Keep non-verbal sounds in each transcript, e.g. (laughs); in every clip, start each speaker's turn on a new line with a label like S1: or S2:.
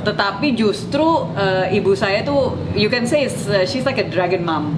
S1: tetapi justru eh, ibu saya tuh you can say is, eh, she's like a dragon
S2: (laughs)
S1: mom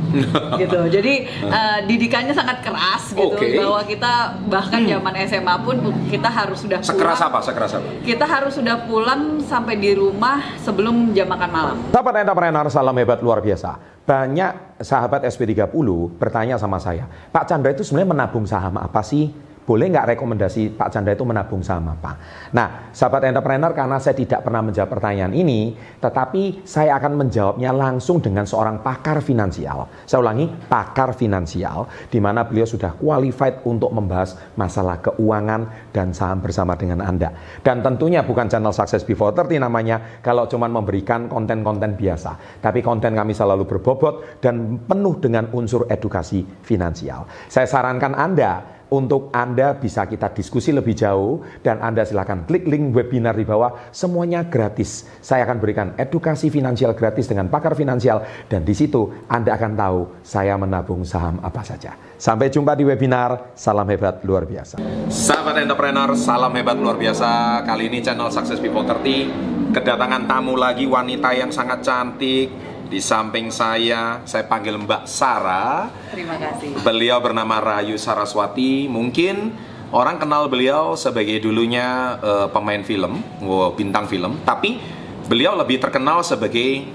S1: gitu jadi eh, didikannya sangat keras gitu
S2: Oke. Hmm.
S1: bahwa kita bahkan zaman SMA pun kita harus sudah
S2: Sekeras
S1: pulang-
S2: apa? Sekeras apa?
S1: kita harus sudah pulang sampai di rumah sebelum jam makan malam
S3: Sahabat entrepreneur, salam hebat luar biasa. Banyak sahabat SP30 bertanya sama saya, Pak Chandra itu sebenarnya menabung saham apa sih? Boleh nggak rekomendasi Pak Chandra itu menabung saham apa? Nah, sahabat entrepreneur, karena saya tidak pernah menjawab pertanyaan ini, tetapi saya akan menjawabnya langsung dengan seorang pakar finansial. Saya ulangi, pakar finansial, di mana beliau sudah qualified untuk membahas masalah keuangan dan saham bersama dengan Anda. Dan tentunya bukan channel Success Before 30 namanya, kalau cuman memberikan konten-konten biasa. Tapi konten kami selalu berbobot dan penuh dengan unsur edukasi finansial. Saya sarankan Anda untuk Anda bisa kita diskusi lebih jauh dan Anda silahkan klik link webinar di bawah semuanya gratis. Saya akan berikan edukasi finansial gratis dengan pakar finansial dan di situ Anda akan tahu saya menabung saham apa saja. Sampai jumpa di webinar. Salam hebat luar biasa.
S2: Sahabat entrepreneur, salam hebat luar biasa. Kali ini channel Success Before 30 kedatangan tamu lagi wanita yang sangat cantik. Di samping saya, saya panggil Mbak Sarah.
S1: terima kasih
S2: Beliau bernama Rayu Saraswati. Mungkin orang kenal beliau sebagai dulunya eh, pemain film, wow, bintang film. Tapi beliau lebih terkenal sebagai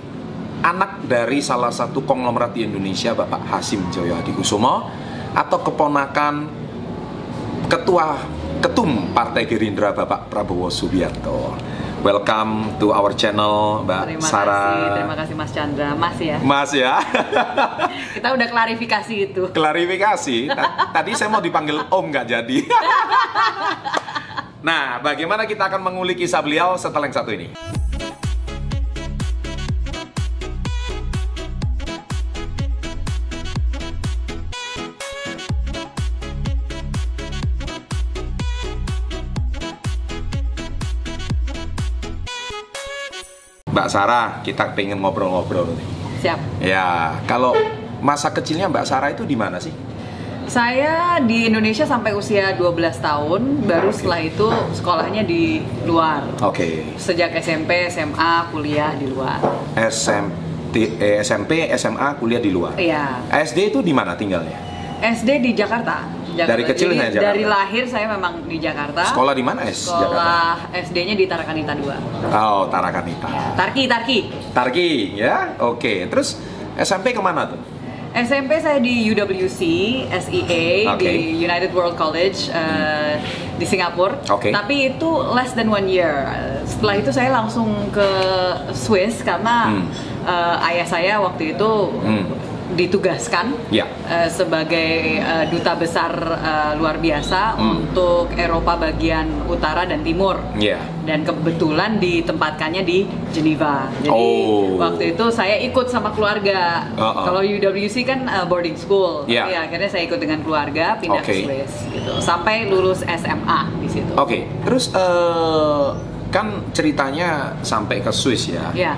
S2: anak dari salah satu konglomerat di Indonesia, Bapak Hasim Joyo Hadikusumo, atau keponakan Ketua Ketum Partai Gerindra Bapak Prabowo Subianto. Welcome to our channel, Mbak
S1: terima
S2: Ah, Sarah.
S1: kasih terima kasih Mas Chandra Mas ya
S2: Mas ya.
S1: kita udah klarifikasi itu
S2: Klarifikasi, ta- tadi saya mau dipanggil Om nggak jadi. (laughs) nah, bagaimana kita akan mengulik kisah beliau setelah yang satu ini? Mbak Sarah, kita pengen ngobrol-ngobrol nih.
S1: siap
S2: Ya, kalau masa kecilnya Mbak Sarah itu di mana sih?
S1: Saya di Indonesia sampai usia 12 tahun,
S2: Ah,
S1: baru setelah itu sekolahnya di luar.
S2: Oke.
S1: Sejak SMP, SMA, kuliah di luar.
S2: SMP, eh, SMP, SMA, kuliah di luar.
S1: Iya.
S2: SD itu di mana tinggalnya?
S1: SD di Jakarta. Jakarta.
S2: Dari kecil
S1: Jadi
S2: saya Jakarta.
S1: Dari lahir saya memang di Jakarta.
S2: Sekolah di mana? S Jakarta.
S1: Sekolah SD-nya di Tarakanita 2.
S2: Oh, Tarakanita.
S1: Tarki, Tarki.
S2: Tarki, ya. Oke. Terus SMP kemana tuh?
S1: SMP saya di UWC, SEA,
S2: Oke.
S1: E di United World College eh, di Singapura.
S2: Oke.
S1: Tapi itu less than one year. Eh, Setelah itu saya langsung ke Swiss karena
S2: Hmm.
S1: eh, ayah saya waktu itu
S2: Hmm.
S1: ditugaskan
S2: Ya.
S1: eh, sebagai eh, duta besar eh, luar biasa
S2: Hmm.
S1: untuk Eropa bagian utara dan timur
S2: Ya.
S1: dan kebetulan ditempatkannya di Geneva. Jadi
S2: Oh.
S1: waktu itu saya ikut sama keluarga.
S2: Uh-uh.
S1: Kalau UWC kan uh, boarding school.
S2: Iya.
S1: Iya, akhirnya saya ikut dengan keluarga pindah
S2: Oke.
S1: ke Swiss gitu. Sampai lulus SMA di situ.
S2: Oke. Terus eh, kan ceritanya sampai ke Swiss ya.
S1: Iya.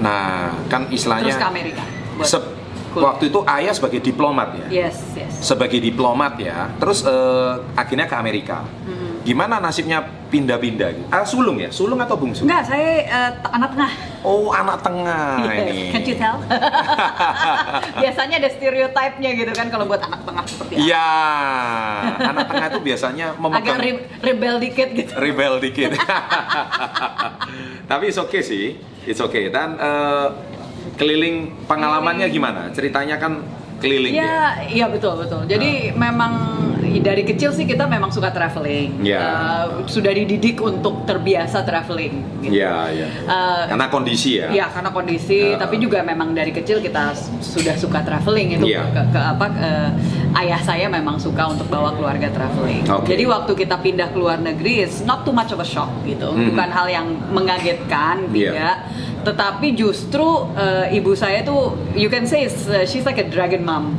S2: Nah, kan istilahnya
S1: Terus ke Amerika. buat Iya.
S2: se-
S1: kuliah.
S2: waktu itu ayah sebagai diplomat ya.
S1: Yes, yes.
S2: sebagai diplomat ya, terus eh, akhirnya ke Amerika.
S1: Mm-hmm.
S2: Gimana nasibnya pindah-pindah? gitu? Ah, sulung ya, sulung atau bungsu?
S1: Enggak, saya uh, t- anak tengah.
S2: Oh, anak tengah
S1: Yes.
S2: ini.
S1: Can't you
S2: (laughs)
S1: tell? Biasanya ada stereotipnya gitu kan kalau buat anak tengah seperti apa.
S2: Iya, anak tengah itu biasanya
S1: Agak
S2: memegang
S1: re- rebel dikit gitu.
S2: rebel dikit. (laughs) Tapi it's okay sih, it's okay. Dan eh, keliling pengalamannya gimana? Ceritanya kan keliling ya. Ah.
S1: Iya, iya betul betul. Jadi memang dari kecil sih kita memang suka traveling.
S2: Iya.
S1: Eh, sudah dididik untuk terbiasa traveling. gitu.
S2: Iya, iya.
S1: Eh,
S2: Karena kondisi ya.
S1: Iya karena kondisi,
S2: Eh.
S1: tapi juga memang dari kecil kita s- sudah suka traveling itu
S2: Iya.
S1: ke, ke apa? eh, ayah saya memang suka untuk bawa keluarga traveling.
S2: Oke.
S1: Jadi waktu kita pindah ke luar negeri, it's not too much of a shock gitu,
S2: Mhm.
S1: bukan hal yang mengagetkan,
S2: Iya.
S1: tidak. Tetapi justru eh, ibu saya tuh, you can say is, eh, she's like a dragon
S2: (laughs)
S1: mom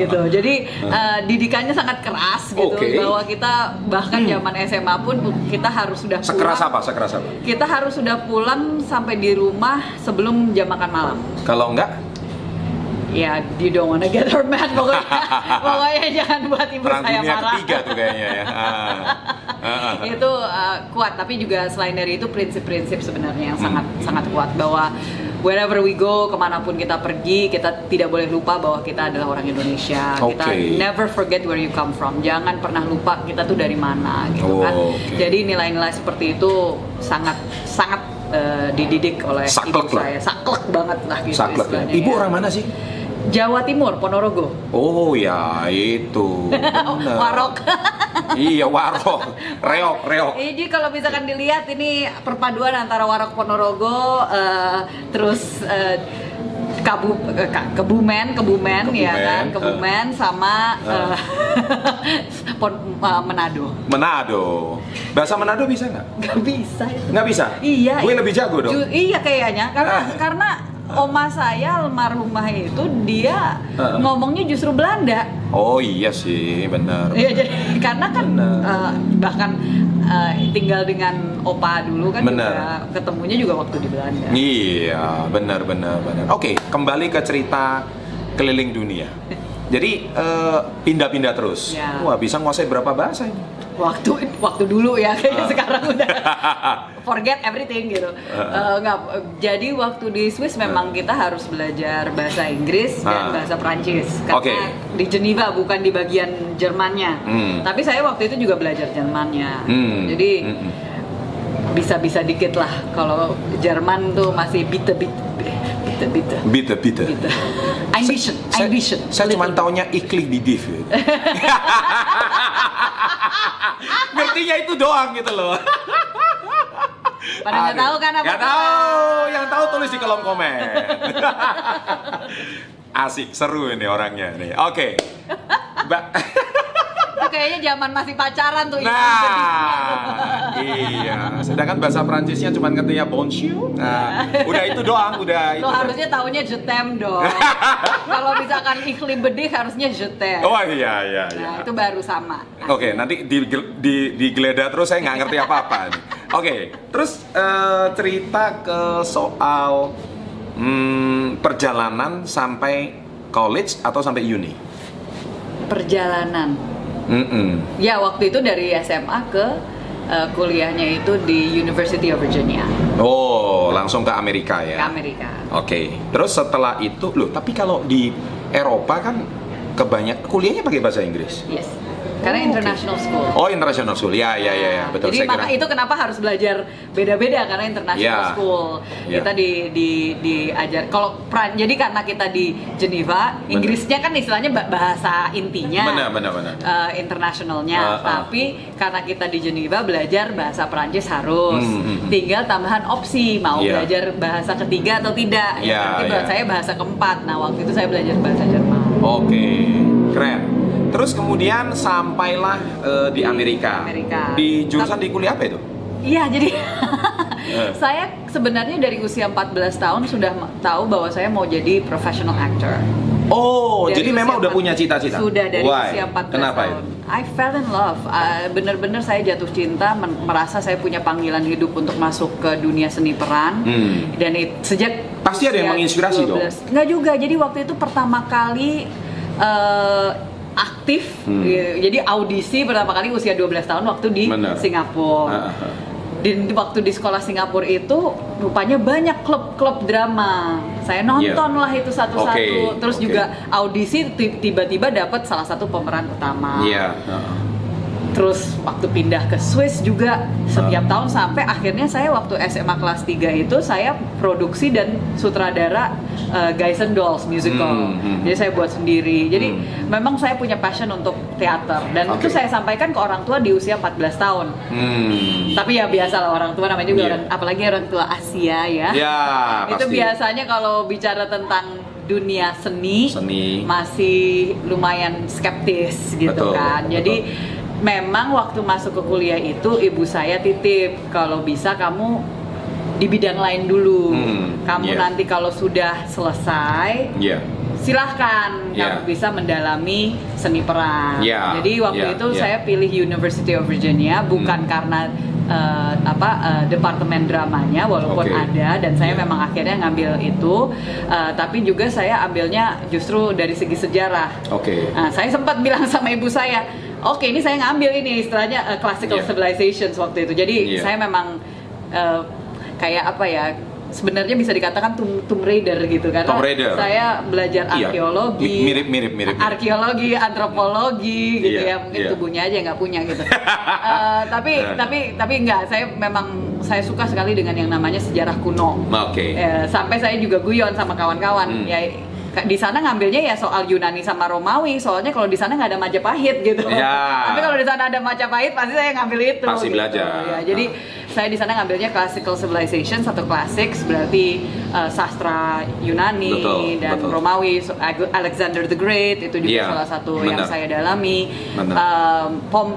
S1: gitu. Jadi eh, didikannya sangat keras gitu,
S2: Oke. Hmm.
S1: bahwa kita bahkan zaman SMA pun kita harus sudah
S2: Sekeras
S1: pulang-
S2: apa? Sekeras apa?
S1: kita harus sudah pulang sampai di rumah sebelum jam makan malam.
S2: Kalau enggak,
S1: ya you don't wanna get her mad
S2: (laughs)
S1: pokoknya pokoknya jangan buat ibu
S2: Perang
S1: saya
S2: dunia
S1: marah
S2: ketiga tuh kayaknya
S1: (laughs)
S2: ya. Ah. Ah.
S1: itu uh, kuat tapi juga selain dari itu prinsip-prinsip sebenarnya yang sangat
S2: Hmm.
S1: sangat kuat bahwa wherever we go kemanapun kita pergi kita tidak boleh lupa bahwa kita adalah orang Indonesia kita
S2: Oke.
S1: never forget where you come from jangan pernah lupa kita tuh dari mana gitu
S2: Oh,
S1: kan
S2: oke.
S1: jadi nilai-nilai seperti itu sangat sangat uh, dididik oleh
S2: Saklek
S1: ibu
S2: lah.
S1: saya saklek banget lah gitu
S2: Saklek ya.
S1: istilahnya
S2: Ibu
S1: ya.
S2: orang mana sih?
S1: Jawa Timur Ponorogo
S2: Oh ya
S1: (laughs)
S2: itu. Benar.
S1: Warok
S2: iya warok, reok reok.
S1: Ini kalau misalkan dilihat ini perpaduan antara Warok Ponorogo eh, terus eh, Kabu eh, Ka- Kebumen, Kebumen ya
S2: Kebumen,
S1: kan, Kebumen sama
S2: eh.
S1: eh, Pon- eh, (laughs) Manado.
S2: Manado. Bahasa Manado bisa nggak?
S1: Gak bisa itu.
S2: Nggak bisa.
S1: Iya.
S2: Gue lebih jago dong.
S1: Ju- iya kayaknya karena
S2: Ah.
S1: karena oma saya almarhumah itu dia
S2: Ah.
S1: ngomongnya justru Belanda.
S2: Oh iya sih, benar.
S1: Iya jadi karena kan
S2: Benar.
S1: eh, bahkan eh, tinggal dengan opa dulu kan
S2: Benar.
S1: juga ketemunya juga waktu di Belanda.
S2: Iya, benar benar benar. Oke, kembali ke cerita keliling dunia. Jadi eh, pindah-pindah terus.
S1: Ya.
S2: Wah, bisa nguasai berapa bahasa ini?
S1: Waktu waktu dulu ya kayaknya
S2: Ah.
S1: sekarang
S2: (laughs)
S1: udah forget everything gitu. Eh,
S2: Ah.
S1: nggak, eh, jadi waktu di Swiss memang kita harus belajar bahasa Inggris dan
S2: Ah.
S1: bahasa Perancis karena
S2: Oke.
S1: di Geneva bukan di bagian Jermannya.
S2: Hmm.
S1: Tapi saya waktu itu juga belajar Jermannya.
S2: Hmm.
S1: Jadi
S2: Mm-mm.
S1: bisa-bisa dikit lah kalau Jerman tuh masih bitte bitte bitte bitte
S2: Bitte, bitte.
S1: bitte ein bisschen
S2: Saya,
S1: ein bisschen
S2: saya cuma taunya iklik di
S1: (laughs)
S2: div. gitu. Ngertinya itu doang gitu loh.
S1: Pada nggak tahu kan apa
S2: Gak
S1: itu?
S2: tahu, yang tahu tulis di kolom komen. (laughs) Asik, seru ini orangnya nih. Oke. Mbak
S1: itu kayaknya zaman masih pacaran (laughs) tuh
S2: Nah, iya. Sedangkan bahasa Prancisnya cuma ngertinya ya, bonjour. Nah, udah itu doang, udah itu.
S1: lo harusnya tahunya jetem
S2: (laughs)
S1: dong kalau misalkan ikhli bedih harusnya jetem
S2: Oh iya iya iya.
S1: nah itu baru sama
S2: Oke, nanti di, di, digeledah terus saya nggak ngerti apa-apa. nih. Oke, terus eh, cerita ke soal hmm, perjalanan sampai college atau sampai uni.
S1: perjalanan
S2: Mm-mm.
S1: ya waktu itu dari SMA ke eh, kuliahnya itu di University of Virginia
S2: Oh, langsung ke Amerika
S1: ke
S2: ya.
S1: Amerika
S2: Oke, terus setelah itu, loh, tapi kalau di Eropa kan kebanyak kuliahnya pakai bahasa Inggris.
S1: yes karena
S2: Oh, oke.
S1: international school
S2: Oh, international school, ya, ya, ya, ya.
S1: Nah,
S2: betul.
S1: Jadi
S2: saya
S1: maka
S2: kira.
S1: itu kenapa harus belajar beda-beda karena international
S2: Ya.
S1: school.
S2: Ya.
S1: Kita di di diajar kalau peran jadi karena kita di Geneva,
S2: Benar.
S1: Inggrisnya kan istilahnya ba- bahasa intinya.
S2: Benar, benar, benar.
S1: eh, internasionalnya,
S2: Ah, ah.
S1: tapi karena kita di Geneva belajar bahasa Perancis harus.
S2: Hmm, hmm, hmm.
S1: Tinggal tambahan opsi mau
S2: Ya.
S1: belajar bahasa ketiga atau tidak.
S2: Ya,
S1: Nanti
S2: ya.
S1: saya bahasa keempat. Nah, waktu itu saya belajar bahasa Jerman.
S2: Oke, keren. Terus kemudian sampailah eh, di Amerika.
S1: Amerika.
S2: Di jurusan di kuliah apa itu?
S1: Iya,
S2: (laughs)
S1: jadi
S2: Eh.
S1: saya sebenarnya dari usia 14 tahun sudah ma- tahu bahwa saya mau jadi professional actor.
S2: Oh,
S1: Dari
S2: jadi
S1: usia
S2: memang udah
S1: 14
S2: punya cita-cita.
S1: Sudah dari
S2: Why?
S1: usia 14
S2: Kenapa ya?
S1: tahun.
S2: itu?
S1: I fell in love. Uh, Bener-bener saya jatuh cinta, men- merasa saya punya panggilan hidup untuk masuk ke dunia seni peran.
S2: Hmm.
S1: Dan it- sejak
S2: Pasti ada
S1: usia
S2: yang menginspirasi dong?
S1: 12. Nggak juga. Jadi waktu itu pertama kali eh, aktif.
S2: Hmm.
S1: eh, Jadi audisi pertama kali usia 12 tahun waktu di
S2: Benar.
S1: Singapura.
S2: Ah, ah.
S1: Dan di- waktu di sekolah Singapura itu rupanya banyak klub-klub drama. Saya nonton
S2: Yeah.
S1: lah itu satu-satu.
S2: Iya. Oke,
S1: Terus
S2: oke.
S1: juga audisi ti- tiba-tiba dapat salah satu pemeran utama.
S2: Iya.
S1: Terus waktu pindah ke Swiss juga
S2: Ah.
S1: setiap tahun sampai akhirnya saya waktu SMA kelas 3 itu saya produksi dan sutradara uh, Guys and Dolls musical.
S2: Hmm, hmm.
S1: Jadi saya buat sendiri. Jadi
S2: Hmm.
S1: memang saya punya passion untuk teater dan itu
S2: Oke.
S1: saya sampaikan ke orang tua di usia 14 tahun.
S2: Hmm.
S1: Tapi ya biasalah orang tua namanya juga
S2: Iya.
S1: orang apalagi orang tua Asia ya.
S2: Ya,
S1: itu
S2: pasti.
S1: biasanya kalau bicara tentang dunia seni,
S2: Seni.
S1: masih lumayan skeptis gitu
S2: Betul,
S1: kan. Jadi memang waktu masuk ke kuliah itu ibu saya titip kalau bisa kamu di bidang lain dulu.
S2: Hmm,
S1: kamu
S2: iya.
S1: nanti kalau sudah selesai
S2: Iya.
S1: silahkan kamu
S2: Yeah.
S1: bisa mendalami seni peran.
S2: Yeah,
S1: Jadi waktu
S2: yeah,
S1: itu
S2: yeah.
S1: saya pilih University of Virginia bukan
S2: iya, Hmm.
S1: karena eh, apa eh, departemen dramanya walaupun
S2: Oke.
S1: ada dan saya
S2: Iya.
S1: memang akhirnya ngambil itu eh, tapi juga saya ambilnya justru dari segi sejarah.
S2: Oke.
S1: Nah, saya sempat bilang (laughs) sama ibu saya, oke ini saya ngambil ini istilahnya eh, classical
S2: Iya.
S1: civilizations waktu itu. Jadi
S2: Iya.
S1: saya memang eh, kayak apa ya? Sebenarnya bisa dikatakan Tomb, Tomb Raider gitu karena
S2: Tomb Raider.
S1: saya belajar
S2: Iya.
S1: arkeologi,
S2: Mi- mirip, mirip, mirip, mirip.
S1: arkeologi, antropologi gitu ya
S2: Iya,
S1: mungkin
S2: iya.
S1: tubuhnya aja nggak punya
S2: (laughs)
S1: gitu. Eh, tapi
S2: Nah.
S1: tapi tapi nggak, saya memang saya suka sekali dengan yang namanya sejarah kuno.
S2: Ah, Oke.
S1: Eh, sampai saya juga guyon sama kawan-kawan
S2: Hmm.
S1: ya ka- di sana ngambilnya ya soal Yunani sama Romawi soalnya kalau di sana nggak ada Majapahit gitu
S2: Ya.
S1: tapi kalau di sana ada Majapahit pasti saya ngambil itu
S2: Pasti
S1: gitu.
S2: belajar. Ah.
S1: Ya, jadi saya di sana ngambilnya classical civilization atau classics berarti eh, sastra Yunani
S2: Betul,
S1: dan
S2: betul.
S1: Romawi so- Ag- Alexander the Great itu juga
S2: Iya,
S1: salah satu yang
S2: benar.
S1: saya dalami
S2: Benar.
S1: Em,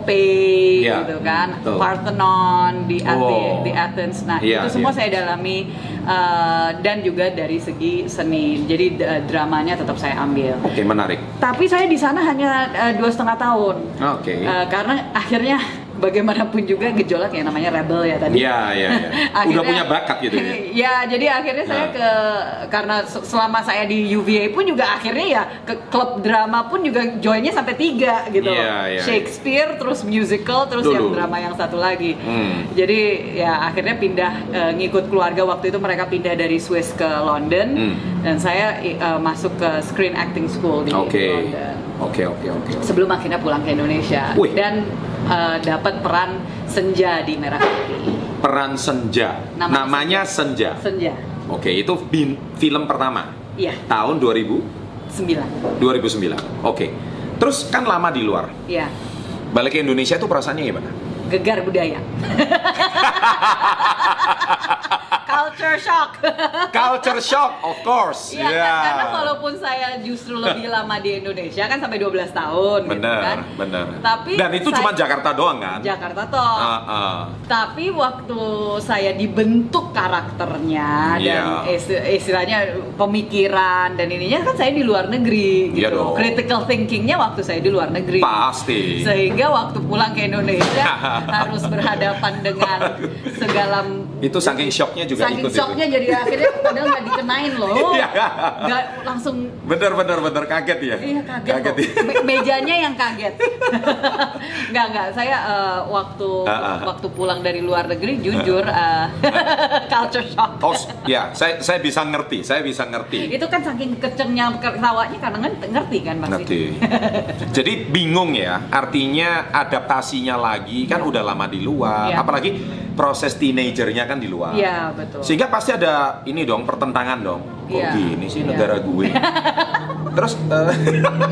S1: Pompei
S2: Iya,
S1: gitu kan
S2: betul.
S1: Parthenon di Athe-
S2: Oh.
S1: di Athens nah
S2: Iya,
S1: itu semua
S2: iya.
S1: saya dalami eh, dan juga dari segi seni jadi eh, dramanya tetap saya ambil
S2: Oke, menarik.
S1: tapi saya di sana hanya eh, dua setengah tahun
S2: Oke.
S1: Eh, karena akhirnya bagaimanapun juga gejolak ya namanya rebel ya tadi
S2: Iya, iya,
S1: (laughs)
S2: iya. Udah
S1: Akhirnya-
S2: punya bakat gitu
S1: (laughs)
S2: ya.
S1: ya jadi akhirnya saya
S2: Nah.
S1: ke karena se- selama saya di UVA pun juga akhirnya ya ke klub drama pun juga joinnya sampai tiga gitu loh.
S2: Iya, iya.
S1: Shakespeare terus musical terus
S2: Dulu.
S1: yang drama yang satu lagi
S2: Hmm.
S1: jadi ya akhirnya pindah eh, ngikut keluarga waktu itu mereka pindah dari Swiss ke London
S2: Hmm.
S1: dan saya i- eh, masuk ke Screen Acting School di
S2: Oke.
S1: London
S2: Oke, oke, oke.
S1: sebelum akhirnya pulang ke Indonesia
S2: Wih.
S1: dan eh, dapat peran Senja di Merah Putih
S2: Peran Senja.
S1: Namanya
S2: Namanya Senja.
S1: Senja
S2: Oke, itu bin- film pertama.
S1: iya
S2: Tahun 2000
S1: sembilan
S2: 2009. Oke. Terus kan lama di luar.
S1: iya
S2: Balik ke Indonesia tuh perasaannya
S1: (laughs)
S2: gimana?
S1: gegar
S2: (laughs)
S1: budaya culture shock
S2: Culture shock, of course.
S1: Iya, kan? karena walaupun saya justru lebih lama di Indonesia kan sampai 12 tahun gitu
S2: Bener,
S1: kan.
S2: bener.
S1: Tapi
S2: Dan itu
S1: saya-
S2: cuma Jakarta doang kan?
S1: Jakarta toh.
S2: Ah, ah.
S1: Tapi waktu saya dibentuk karakternya dan
S2: Iya.
S1: isti- istilahnya pemikiran dan ininya kan saya di luar negeri
S2: Iya
S1: gitu.
S2: dong.
S1: Critical thinkingnya waktu saya di luar negeri.
S2: Pasti.
S1: Sehingga waktu pulang ke
S2: (laughs)
S1: Indonesia harus berhadapan dengan segala
S2: Itu saking shocknya juga
S1: saking
S2: ikut
S1: shocknya
S2: itu.
S1: jadi akhirnya padahal nggak dikenain loh.
S2: (laughs) Iya.
S1: Nggak langsung
S2: Bener, bener, bener kaget ya.
S1: Iya kaget, kok.
S2: ya.
S1: Me- Mejanya yang kaget. (laughs) nggak nggak, saya eh, waktu
S2: Ah, ah.
S1: waktu pulang dari luar negeri jujur eh, (laughs) culture shock.
S2: Oh, s- ya, saya saya bisa ngerti, saya bisa ngerti.
S1: Itu kan saking kecengnya ketawanya karena ngen- ngerti kan pasti.
S2: Ngerti. Jadi bingung ya, artinya adaptasinya lagi kan udah lama di luar,
S1: Iya.
S2: apalagi proses teenagernya kan di luar.
S1: Iya betul. (laughs)
S2: Sehingga pasti ada ini dong pertentangan dong. Kok
S1: Iya.
S2: gini sih
S1: Iya.
S2: negara
S1: (laughs)
S2: gue. terus eh, (laughs)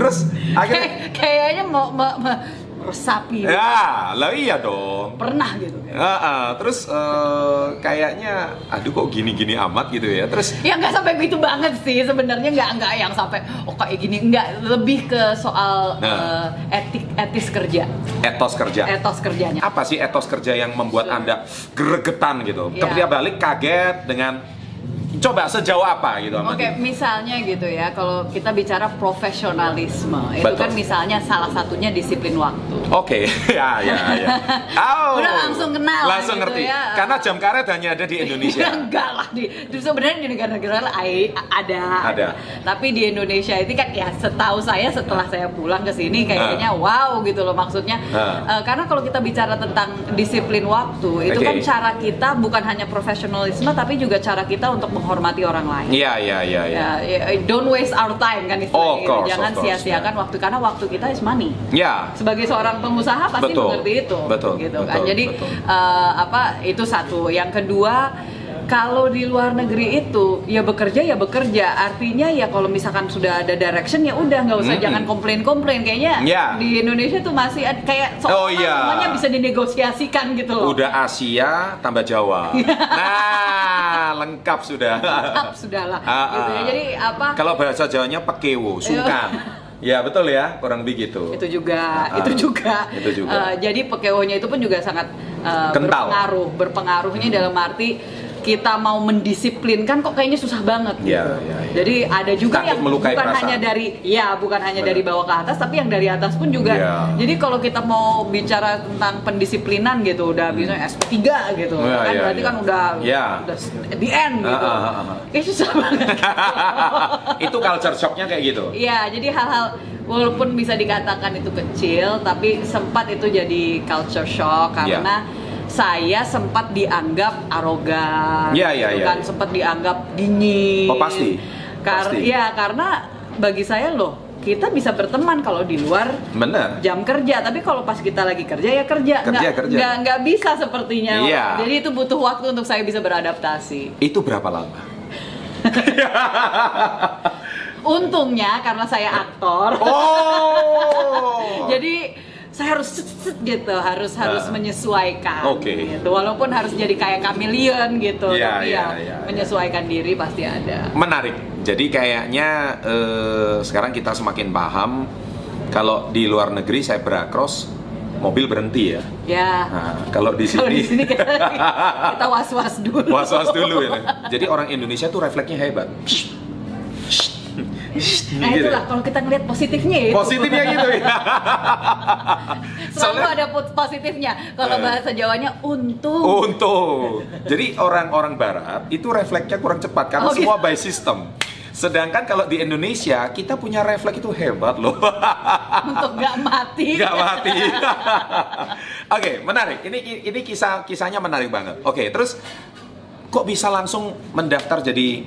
S2: terus akhirnya
S1: Kay- kayaknya mau me- me- meresapi.
S2: ya, lah iya dong.
S1: Pernah gitu.
S2: Ah, ah, terus eh, kayaknya aduh kok gini-gini amat gitu ya. Terus
S1: Ya nggak sampai begitu banget sih sebenarnya nggak nggak yang sampai oh kayak gini nggak lebih ke soal
S2: Nah. Ya.
S1: eh, etik etis kerja
S2: etos kerja.
S1: etos kerjanya.
S2: apa sih etos kerja yang membuat anda gregetan gitu
S1: Iya.
S2: ketika balik kaget dengan coba sejauh apa gitu Amanda?
S1: Oke, misalnya gitu ya, kalau kita bicara profesionalisme, itu
S2: Betul.
S1: kan misalnya salah satunya disiplin waktu.
S2: oke (laughs) ya ya ya Au.
S1: (laughs) Udah langsung kenal
S2: langsung
S1: gitu
S2: ngerti
S1: ya.
S2: karena jam karet hanya ada di Indonesia
S1: Ya, (laughs) enggak lah di justru sebenarnya di negara-negara lain eh, ada.
S2: Ada.
S1: Tapi di Indonesia itu kan ya setahu saya setelah saya pulang ke sini kayaknya wow gitu loh maksudnya.
S2: Ah.
S1: Eh, karena kalau kita bicara tentang disiplin waktu, itu
S2: Oke.
S1: kan cara kita bukan hanya profesionalisme tapi juga cara kita untuk menghormati orang lain.
S2: iya iya iya iya
S1: Ya, ya, don't waste our time kan istilahnya
S2: Oh, of
S1: gitu.
S2: course,
S1: Jangan
S2: of course,
S1: sia-siakan waktu karena waktu kita is money.
S2: ya
S1: Sebagai seorang pengusaha pasti
S2: Betul,
S1: mengerti itu,
S2: betul,
S1: gitu kan.
S2: betul,
S1: Jadi
S2: betul.
S1: eh, apa itu satu. Yang kedua, kalau di luar negeri itu ya bekerja ya bekerja. Artinya ya kalau misalkan sudah ada direction ya udah nggak usah
S2: Mm-mm.
S1: jangan komplain-komplain. Kayaknya
S2: Ya.
S1: di Indonesia tuh masih ad- kayak seolah
S2: Oh, iya.
S1: semuanya bisa dinegosiasikan gitu loh.
S2: udah Asia tambah
S1: (laughs)
S2: Jawa
S1: Iya.
S2: nah lengkap sudah
S1: Up, sudahlah.
S2: Ah,
S1: gitu ya.
S2: ah.
S1: Jadi apa?
S2: kalau bahasa Jawanya pekewo sungkan ya betul ya kurang begitu
S1: Iya. itu juga
S2: Ah,
S1: itu juga,
S2: itu juga.
S1: Eh, jadi pekeonya itu pun juga sangat eh,
S2: Kental. Hmm.
S1: berpengaruh berpengaruhnya dalam arti kita mau mendisiplinkan kok kayaknya susah banget gitu.
S2: Iya, iya, iya.
S1: Jadi ada juga
S2: Takut
S1: yang
S2: melukai
S1: bukan
S2: perasaan.
S1: hanya dari ya bukan hanya dari bawah ke atas tapi yang dari atas pun juga.
S2: Iya.
S1: Jadi kalau kita mau bicara tentang pendisiplinan gitu udah misalnya SP3 gitu.
S2: Hmm. Iya,
S1: kan
S2: iya,
S1: berarti
S2: iya.
S1: kan udah
S2: Iya.
S1: udah the end gitu.
S2: Ah, ah, ah, ah.
S1: Kayaknya susah (laughs) banget.
S2: (laughs) itu culture shocknya kayak gitu
S1: Iya, jadi hal-hal walaupun bisa dikatakan itu kecil, tapi sempat itu jadi culture shock
S2: Iya.
S1: karena saya sempat dianggap arogan,
S2: Iya, iya,
S1: gitu
S2: iya,
S1: kan
S2: iya.
S1: sempat dianggap dingin.
S2: Oh, pasti.
S1: Kar-
S2: Pasti.
S1: Iya, karena bagi saya loh kita bisa berteman kalau di luar
S2: bener
S1: jam kerja, tapi kalau pas kita lagi kerja ya kerja,
S2: Kerja,
S1: nggak
S2: kerja.
S1: nggak nggak bisa sepertinya.
S2: Iya.
S1: Jadi itu butuh waktu untuk saya bisa beradaptasi.
S2: itu berapa lama
S1: Untungnya karena saya aktor.
S2: oh
S1: Jadi saya harus set, set gitu, harus harus
S2: Ah.
S1: menyesuaikan.
S2: Oke.
S1: Gitu. Walaupun harus jadi kayak chameleon gitu,
S2: Iya,
S1: tapi
S2: iya,
S1: ya
S2: iya,
S1: menyesuaikan diri pasti ada.
S2: (laughs) menarik jadi kayaknya eh, sekarang kita semakin paham kalau di luar negeri cyberacross mobil berhenti ya
S1: (laughs) Ya.
S2: nah, kalau di
S1: Kalau di
S2: sini
S1: sini kita, kita was-was dulu.
S2: (laughs) was-was dulu ya jadi orang Indonesia tuh refleksnya hebat
S1: Nah
S2: Gitu ya.
S1: itulah kalau kita ngeliat positifnya ya.
S2: positifnya gitu ya
S1: (laughs) Selalu
S2: soalnya-
S1: ada po- positifnya. Kalau
S2: Eh. Oh.
S1: bahasa Jawanya untung.
S2: Untung. Jadi orang-orang Barat itu refleksnya kurang cepat karena
S1: Oh, gitu.
S2: semua by system. Sedangkan kalau di Indonesia kita punya refleks itu hebat loh,
S1: (laughs) Untuk nggak mati.
S2: nggak mati. (laughs) Oke, menarik. Ini ini kisah kisahnya menarik banget. Oke, terus kok bisa langsung mendaftar jadi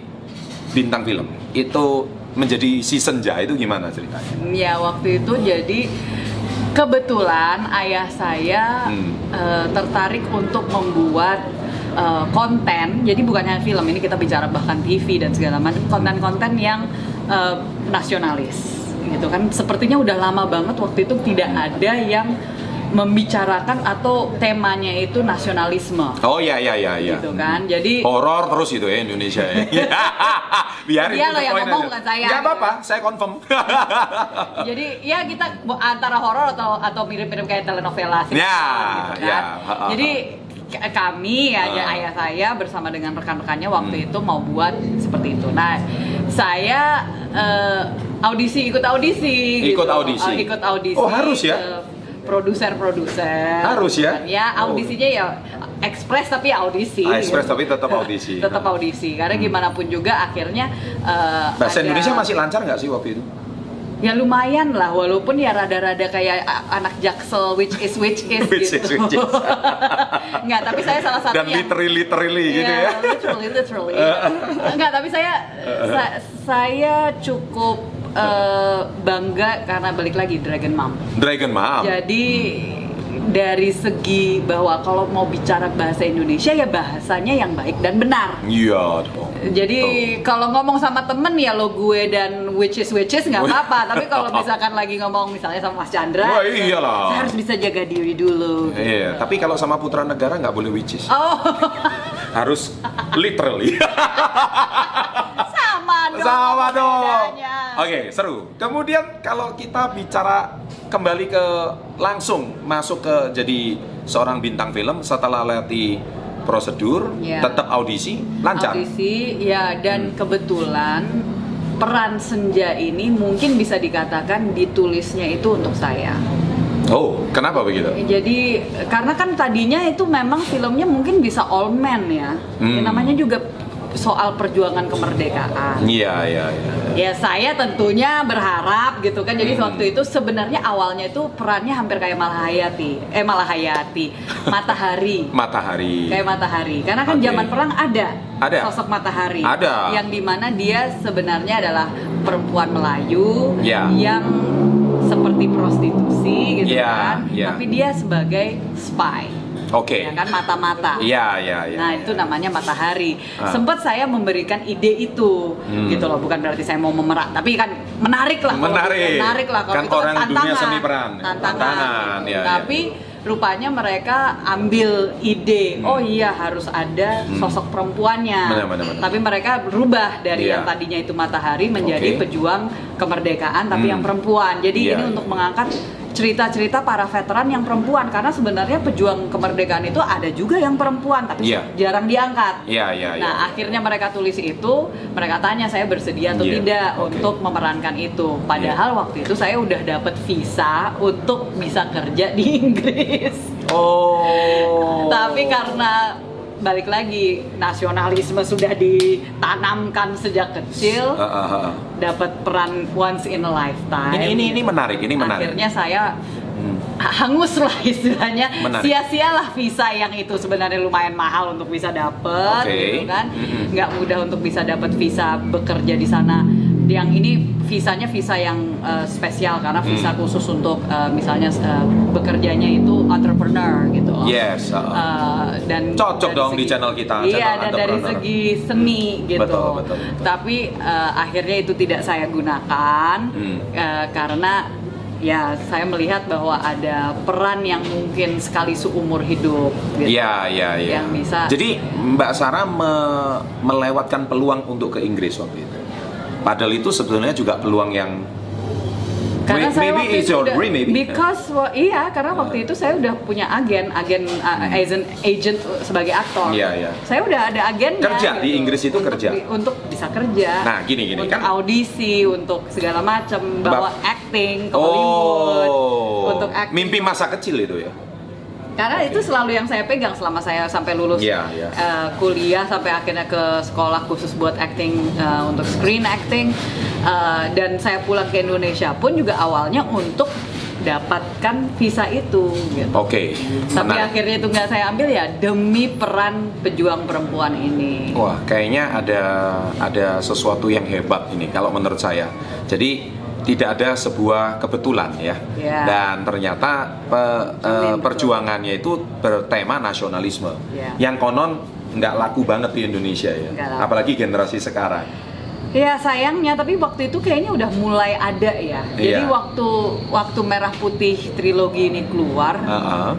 S2: bintang film? Itu menjadi si senja itu gimana ceritanya?
S1: Ya waktu itu jadi kebetulan ayah saya
S2: Hmm.
S1: eh, tertarik untuk membuat eh, konten. Jadi bukan hanya film ini kita bicara bahkan TV dan segala macam konten-konten yang eh, nasionalis gitu kan. Sepertinya udah lama banget waktu itu tidak ada yang membicarakan atau temanya itu nasionalisme
S2: Oh ya ya ya ya.
S1: gitu kan. Jadi
S2: Horor terus gitu ya Indonesia
S1: (laughs)
S2: ya. (laughs) Biarin
S1: Dia Iya
S2: itu
S1: loh yang
S2: poin
S1: ngomong,
S2: aja.
S1: bukan saya. Iya.
S2: Nggak apa-apa, saya
S1: (laughs)
S2: confirm.
S1: Jadi ya kita antara horor atau atau mirip-mirip kayak telenovela sih
S2: Ya,
S1: gitu kan.
S2: ya.
S1: Jadi k- kami ya
S2: Ah.
S1: ayah saya bersama dengan rekan-rekannya waktu
S2: Hmm.
S1: itu mau buat seperti itu. Nah, saya eh, audisi ikut audisi.
S2: Ikut
S1: gitu.
S2: audisi?
S1: Eh, ikut audisi.
S2: Oh, harus ya?
S1: ke Produser-produser.
S2: Harus ya?
S1: Dan Ya
S2: Oh.
S1: audisinya ya ekspres tapi ya audisi. gitu.
S2: Ah, ekspres tapi tetap audisi. Hmm.
S1: tetap audisi karena gimana pun juga akhirnya eh,
S2: Nah,
S1: ada-
S2: Bahasa Indonesia masih lancar nggak sih waktu itu?
S1: Ya lumayan lah, walaupun ya rada-rada kayak a- anak jaksel, which is which is
S2: (laughs) Which
S1: gitu.
S2: is, which is.
S1: (laughs) Nggak, tapi saya salah satu
S2: Dan
S1: yang...
S2: literally-literally gitu
S1: Iya,
S2: ya.
S1: literally, literally. Nggak, tapi saya sa- saya cukup eh, bangga karena balik lagi Dragon Mom.
S2: Dragon Mom.
S1: Jadi dari segi bahwa kalau mau bicara bahasa Indonesia ya bahasanya yang baik dan benar.
S2: Iya dong.
S1: Jadi kalau ngomong sama temen ya lo gue dan witches witches nggak apa-apa. Tapi
S2: (laughs)
S1: kalau misalkan lagi ngomong misalnya sama Mas Chandra,
S2: Wah, iyalah.
S1: saya harus bisa jaga diri dulu.
S2: Tuh. Iya, tapi kalau sama putra negara nggak boleh witches.
S1: Oh, (laughs)
S2: Harus literally.
S1: sama dong.
S2: Sama
S1: apa
S2: dong.
S1: bedanya?
S2: Oke, seru. Kemudian kalau kita bicara kembali ke langsung masuk ke jadi seorang bintang film setelah lewati prosedur,
S1: Iya.
S2: tetap audisi, lancar. Hmm.
S1: Audisi, ya dan kebetulan peran senja ini mungkin bisa dikatakan ditulisnya itu untuk saya.
S2: Oh, kenapa begitu?
S1: Jadi karena kan tadinya itu memang filmnya mungkin bisa all men ya.
S2: Hmm.
S1: Ya, namanya juga soal perjuangan kemerdekaan.
S2: Iya, iya, iya.
S1: Ya saya tentunya berharap gitu kan. Jadi waktu
S2: Hmm.
S1: itu sebenarnya awalnya itu perannya hampir kayak Malahayati, eh Malahayati, Matahari.
S2: (laughs) Matahari.
S1: Kayak matahari, karena kan
S2: Oke.
S1: zaman perang ada,
S2: Ada.
S1: sosok matahari,
S2: Ada.
S1: yang dimana dia sebenarnya adalah perempuan Melayu
S2: Ya.
S1: yang seperti prostitusi gitu
S2: Ya,
S1: kan,
S2: ya.
S1: tapi dia sebagai spy,
S2: Oke.
S1: ya kan mata-mata.
S2: Iya, iya, iya.
S1: Nah itu namanya matahari.
S2: Ah.
S1: Sempat saya memberikan ide itu,
S2: Hmm.
S1: gitu loh. Bukan berarti saya mau memerak, tapi kan menarik lah. kalau
S2: Menarik.
S1: gitu. menarik lah. Kalau
S2: Kan
S1: itu
S2: orang dunia
S1: tantangan.
S2: seni peran.
S1: Tantangan.
S2: Tantangan,
S1: gitu.
S2: ya, ya.
S1: tapi rupanya mereka ambil ide. Oh iya harus ada sosok perempuannya.
S2: Hmm. Benar, benar, benar.
S1: Tapi mereka berubah dari
S2: Iya.
S1: yang tadinya itu matahari menjadi
S2: Oke.
S1: pejuang kemerdekaan, tapi
S2: Hmm.
S1: yang perempuan. Jadi
S2: Iya,
S1: ini
S2: iya.
S1: untuk mengangkat cerita-cerita para veteran yang perempuan karena sebenarnya pejuang kemerdekaan itu ada juga yang perempuan tapi
S2: Iya.
S1: jarang diangkat.
S2: Iya, iya,
S1: nah,
S2: iya.
S1: akhirnya mereka tulis itu, mereka tanya saya bersedia atau
S2: Iya,
S1: tidak
S2: oke. Iya.
S1: untuk memerankan itu. Padahal waktu itu saya udah dapat visa untuk bisa kerja di (laughs) Inggris.
S2: Oh.
S1: Tapi karena balik lagi nasionalisme sudah ditanamkan sejak
S2: Ah,
S1: kecil,
S2: ah, ah.
S1: dapat peran once in a lifetime.
S2: Ini ini ini menarik, ini menarik.
S1: Akhirnya saya
S2: Hmm.
S1: hangus lah istilahnya
S2: Menarik.
S1: sia-sialah visa yang itu sebenarnya lumayan mahal untuk bisa dapet
S2: Oke.
S1: gitu kan
S2: Mm-mm.
S1: nggak mudah untuk bisa dapet visa bekerja di sana yang ini visanya visa yang eh, spesial karena visa
S2: Hmm.
S1: khusus untuk eh, misalnya eh, bekerjanya itu entrepreneur gitu
S2: Yes. ah.
S1: Eh, dan
S2: Cocok
S1: dari
S2: dong di channel kita,
S1: Iya,
S2: channel
S1: dan dari
S2: entrepreneur.
S1: segi seni gitu.
S2: Betul, betul, betul.
S1: Tapi eh, akhirnya itu tidak saya gunakan
S2: Hmm.
S1: eh, karena ya saya melihat bahwa ada peran yang mungkin sekali seumur hidup. Gitu.
S2: Iya, iya, iya.
S1: Yang bisa.
S2: Jadi Mbak Sarah me- melewatkan peluang untuk ke Inggris waktu itu. Padahal itu sebetulnya juga peluang yang
S1: Karena
S2: May-
S1: saya
S2: maybe
S1: waktu
S2: it's
S1: itu
S2: your
S1: udah-
S2: dream, maybe. Ah.
S1: because wa- iya karena waktu itu saya udah punya agen, agen uh, agent agent sebagai aktor.
S2: Hmm. Iya, iya.
S1: Saya udah ada agennya. gitu.
S2: Kerja, di Inggris itu
S1: Untuk
S2: kerja.
S1: di- untuk bisa kerja.
S2: Nah, gini,
S1: Untuk
S2: gini, kan-
S1: audisi, untuk segala macam bawa
S2: Bab-
S1: acting ke Hollywood.
S2: Oh.
S1: Untuk acting.
S2: Mimpi masa kecil itu ya.
S1: Karena itu selalu yang saya pegang selama saya sampai lulus
S2: Iya, iya.
S1: eh, kuliah sampai akhirnya ke sekolah khusus buat acting eh, untuk screen acting Eh, dan saya pulang ke Indonesia pun juga awalnya untuk dapatkan visa itu gitu.
S2: Oke.
S1: Tapi
S2: menarik.
S1: akhirnya itu nggak saya ambil ya demi peran pejuang perempuan ini.
S2: Wah, kayaknya ada ada sesuatu yang hebat ini kalau menurut saya. Jadi tidak ada sebuah kebetulan ya.
S1: Ya.
S2: Dan ternyata pe- eh,
S1: Iya, betul.
S2: perjuangannya itu bertema nasionalisme.
S1: Ya.
S2: Yang konon nggak laku banget di Indonesia ya.
S1: Nggak laku.
S2: Apalagi generasi sekarang.
S1: Ya sayangnya, tapi waktu itu kayaknya udah mulai ada ya. Jadi
S2: Iya.
S1: waktu waktu merah putih trilogi ini keluar,
S2: Heeh.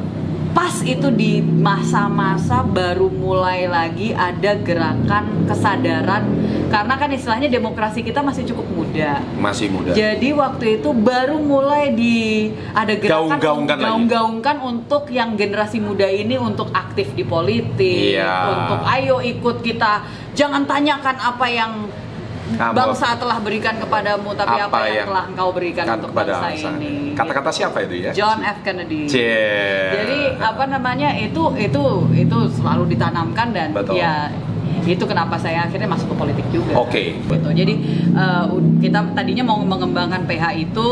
S1: pas itu di masa-masa baru mulai lagi ada gerakan kesadaran karena kan istilahnya demokrasi kita masih cukup muda.
S2: Masih muda.
S1: Jadi waktu itu baru mulai di ada gerakan
S2: Gaung-gaungkan lagi.
S1: gaung-gaungkan untuk yang generasi muda ini untuk aktif di politik,
S2: Iya.
S1: untuk ayo ikut kita jangan tanyakan apa yang
S2: Kamu-
S1: bangsa telah berikan kepadamu tapi apa,
S2: Apa
S1: yang,
S2: yang
S1: telah engkau berikan
S2: Kan
S1: untuk
S2: kepada
S1: bangsa
S2: bangsa.
S1: ini. gitu.
S2: Kata-kata siapa itu ya?
S1: John F Kennedy.
S2: Cie.
S1: Jadi apa namanya itu itu itu selalu ditanamkan dan
S2: Betul.
S1: ya itu kenapa saya akhirnya masuk ke politik juga.
S2: Oke.
S1: Gitu. Jadi eh, u- kita tadinya mau mengembangkan PH itu,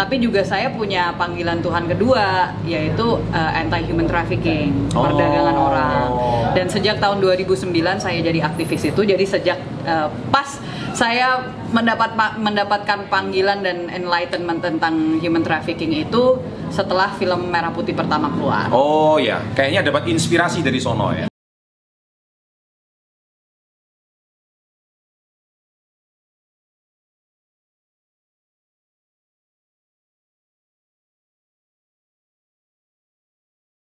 S1: tapi juga saya punya panggilan Tuhan kedua yaitu anti human trafficking,
S2: Oh.
S1: perdagangan orang. Dan sejak tahun 2009 saya jadi aktivis itu. Jadi sejak eh, pas saya mendapat pa- mendapatkan panggilan dan enlightenment tentang human trafficking itu setelah film Merah Putih pertama keluar.
S2: Oh ya, kayaknya dapat inspirasi dari sono ya.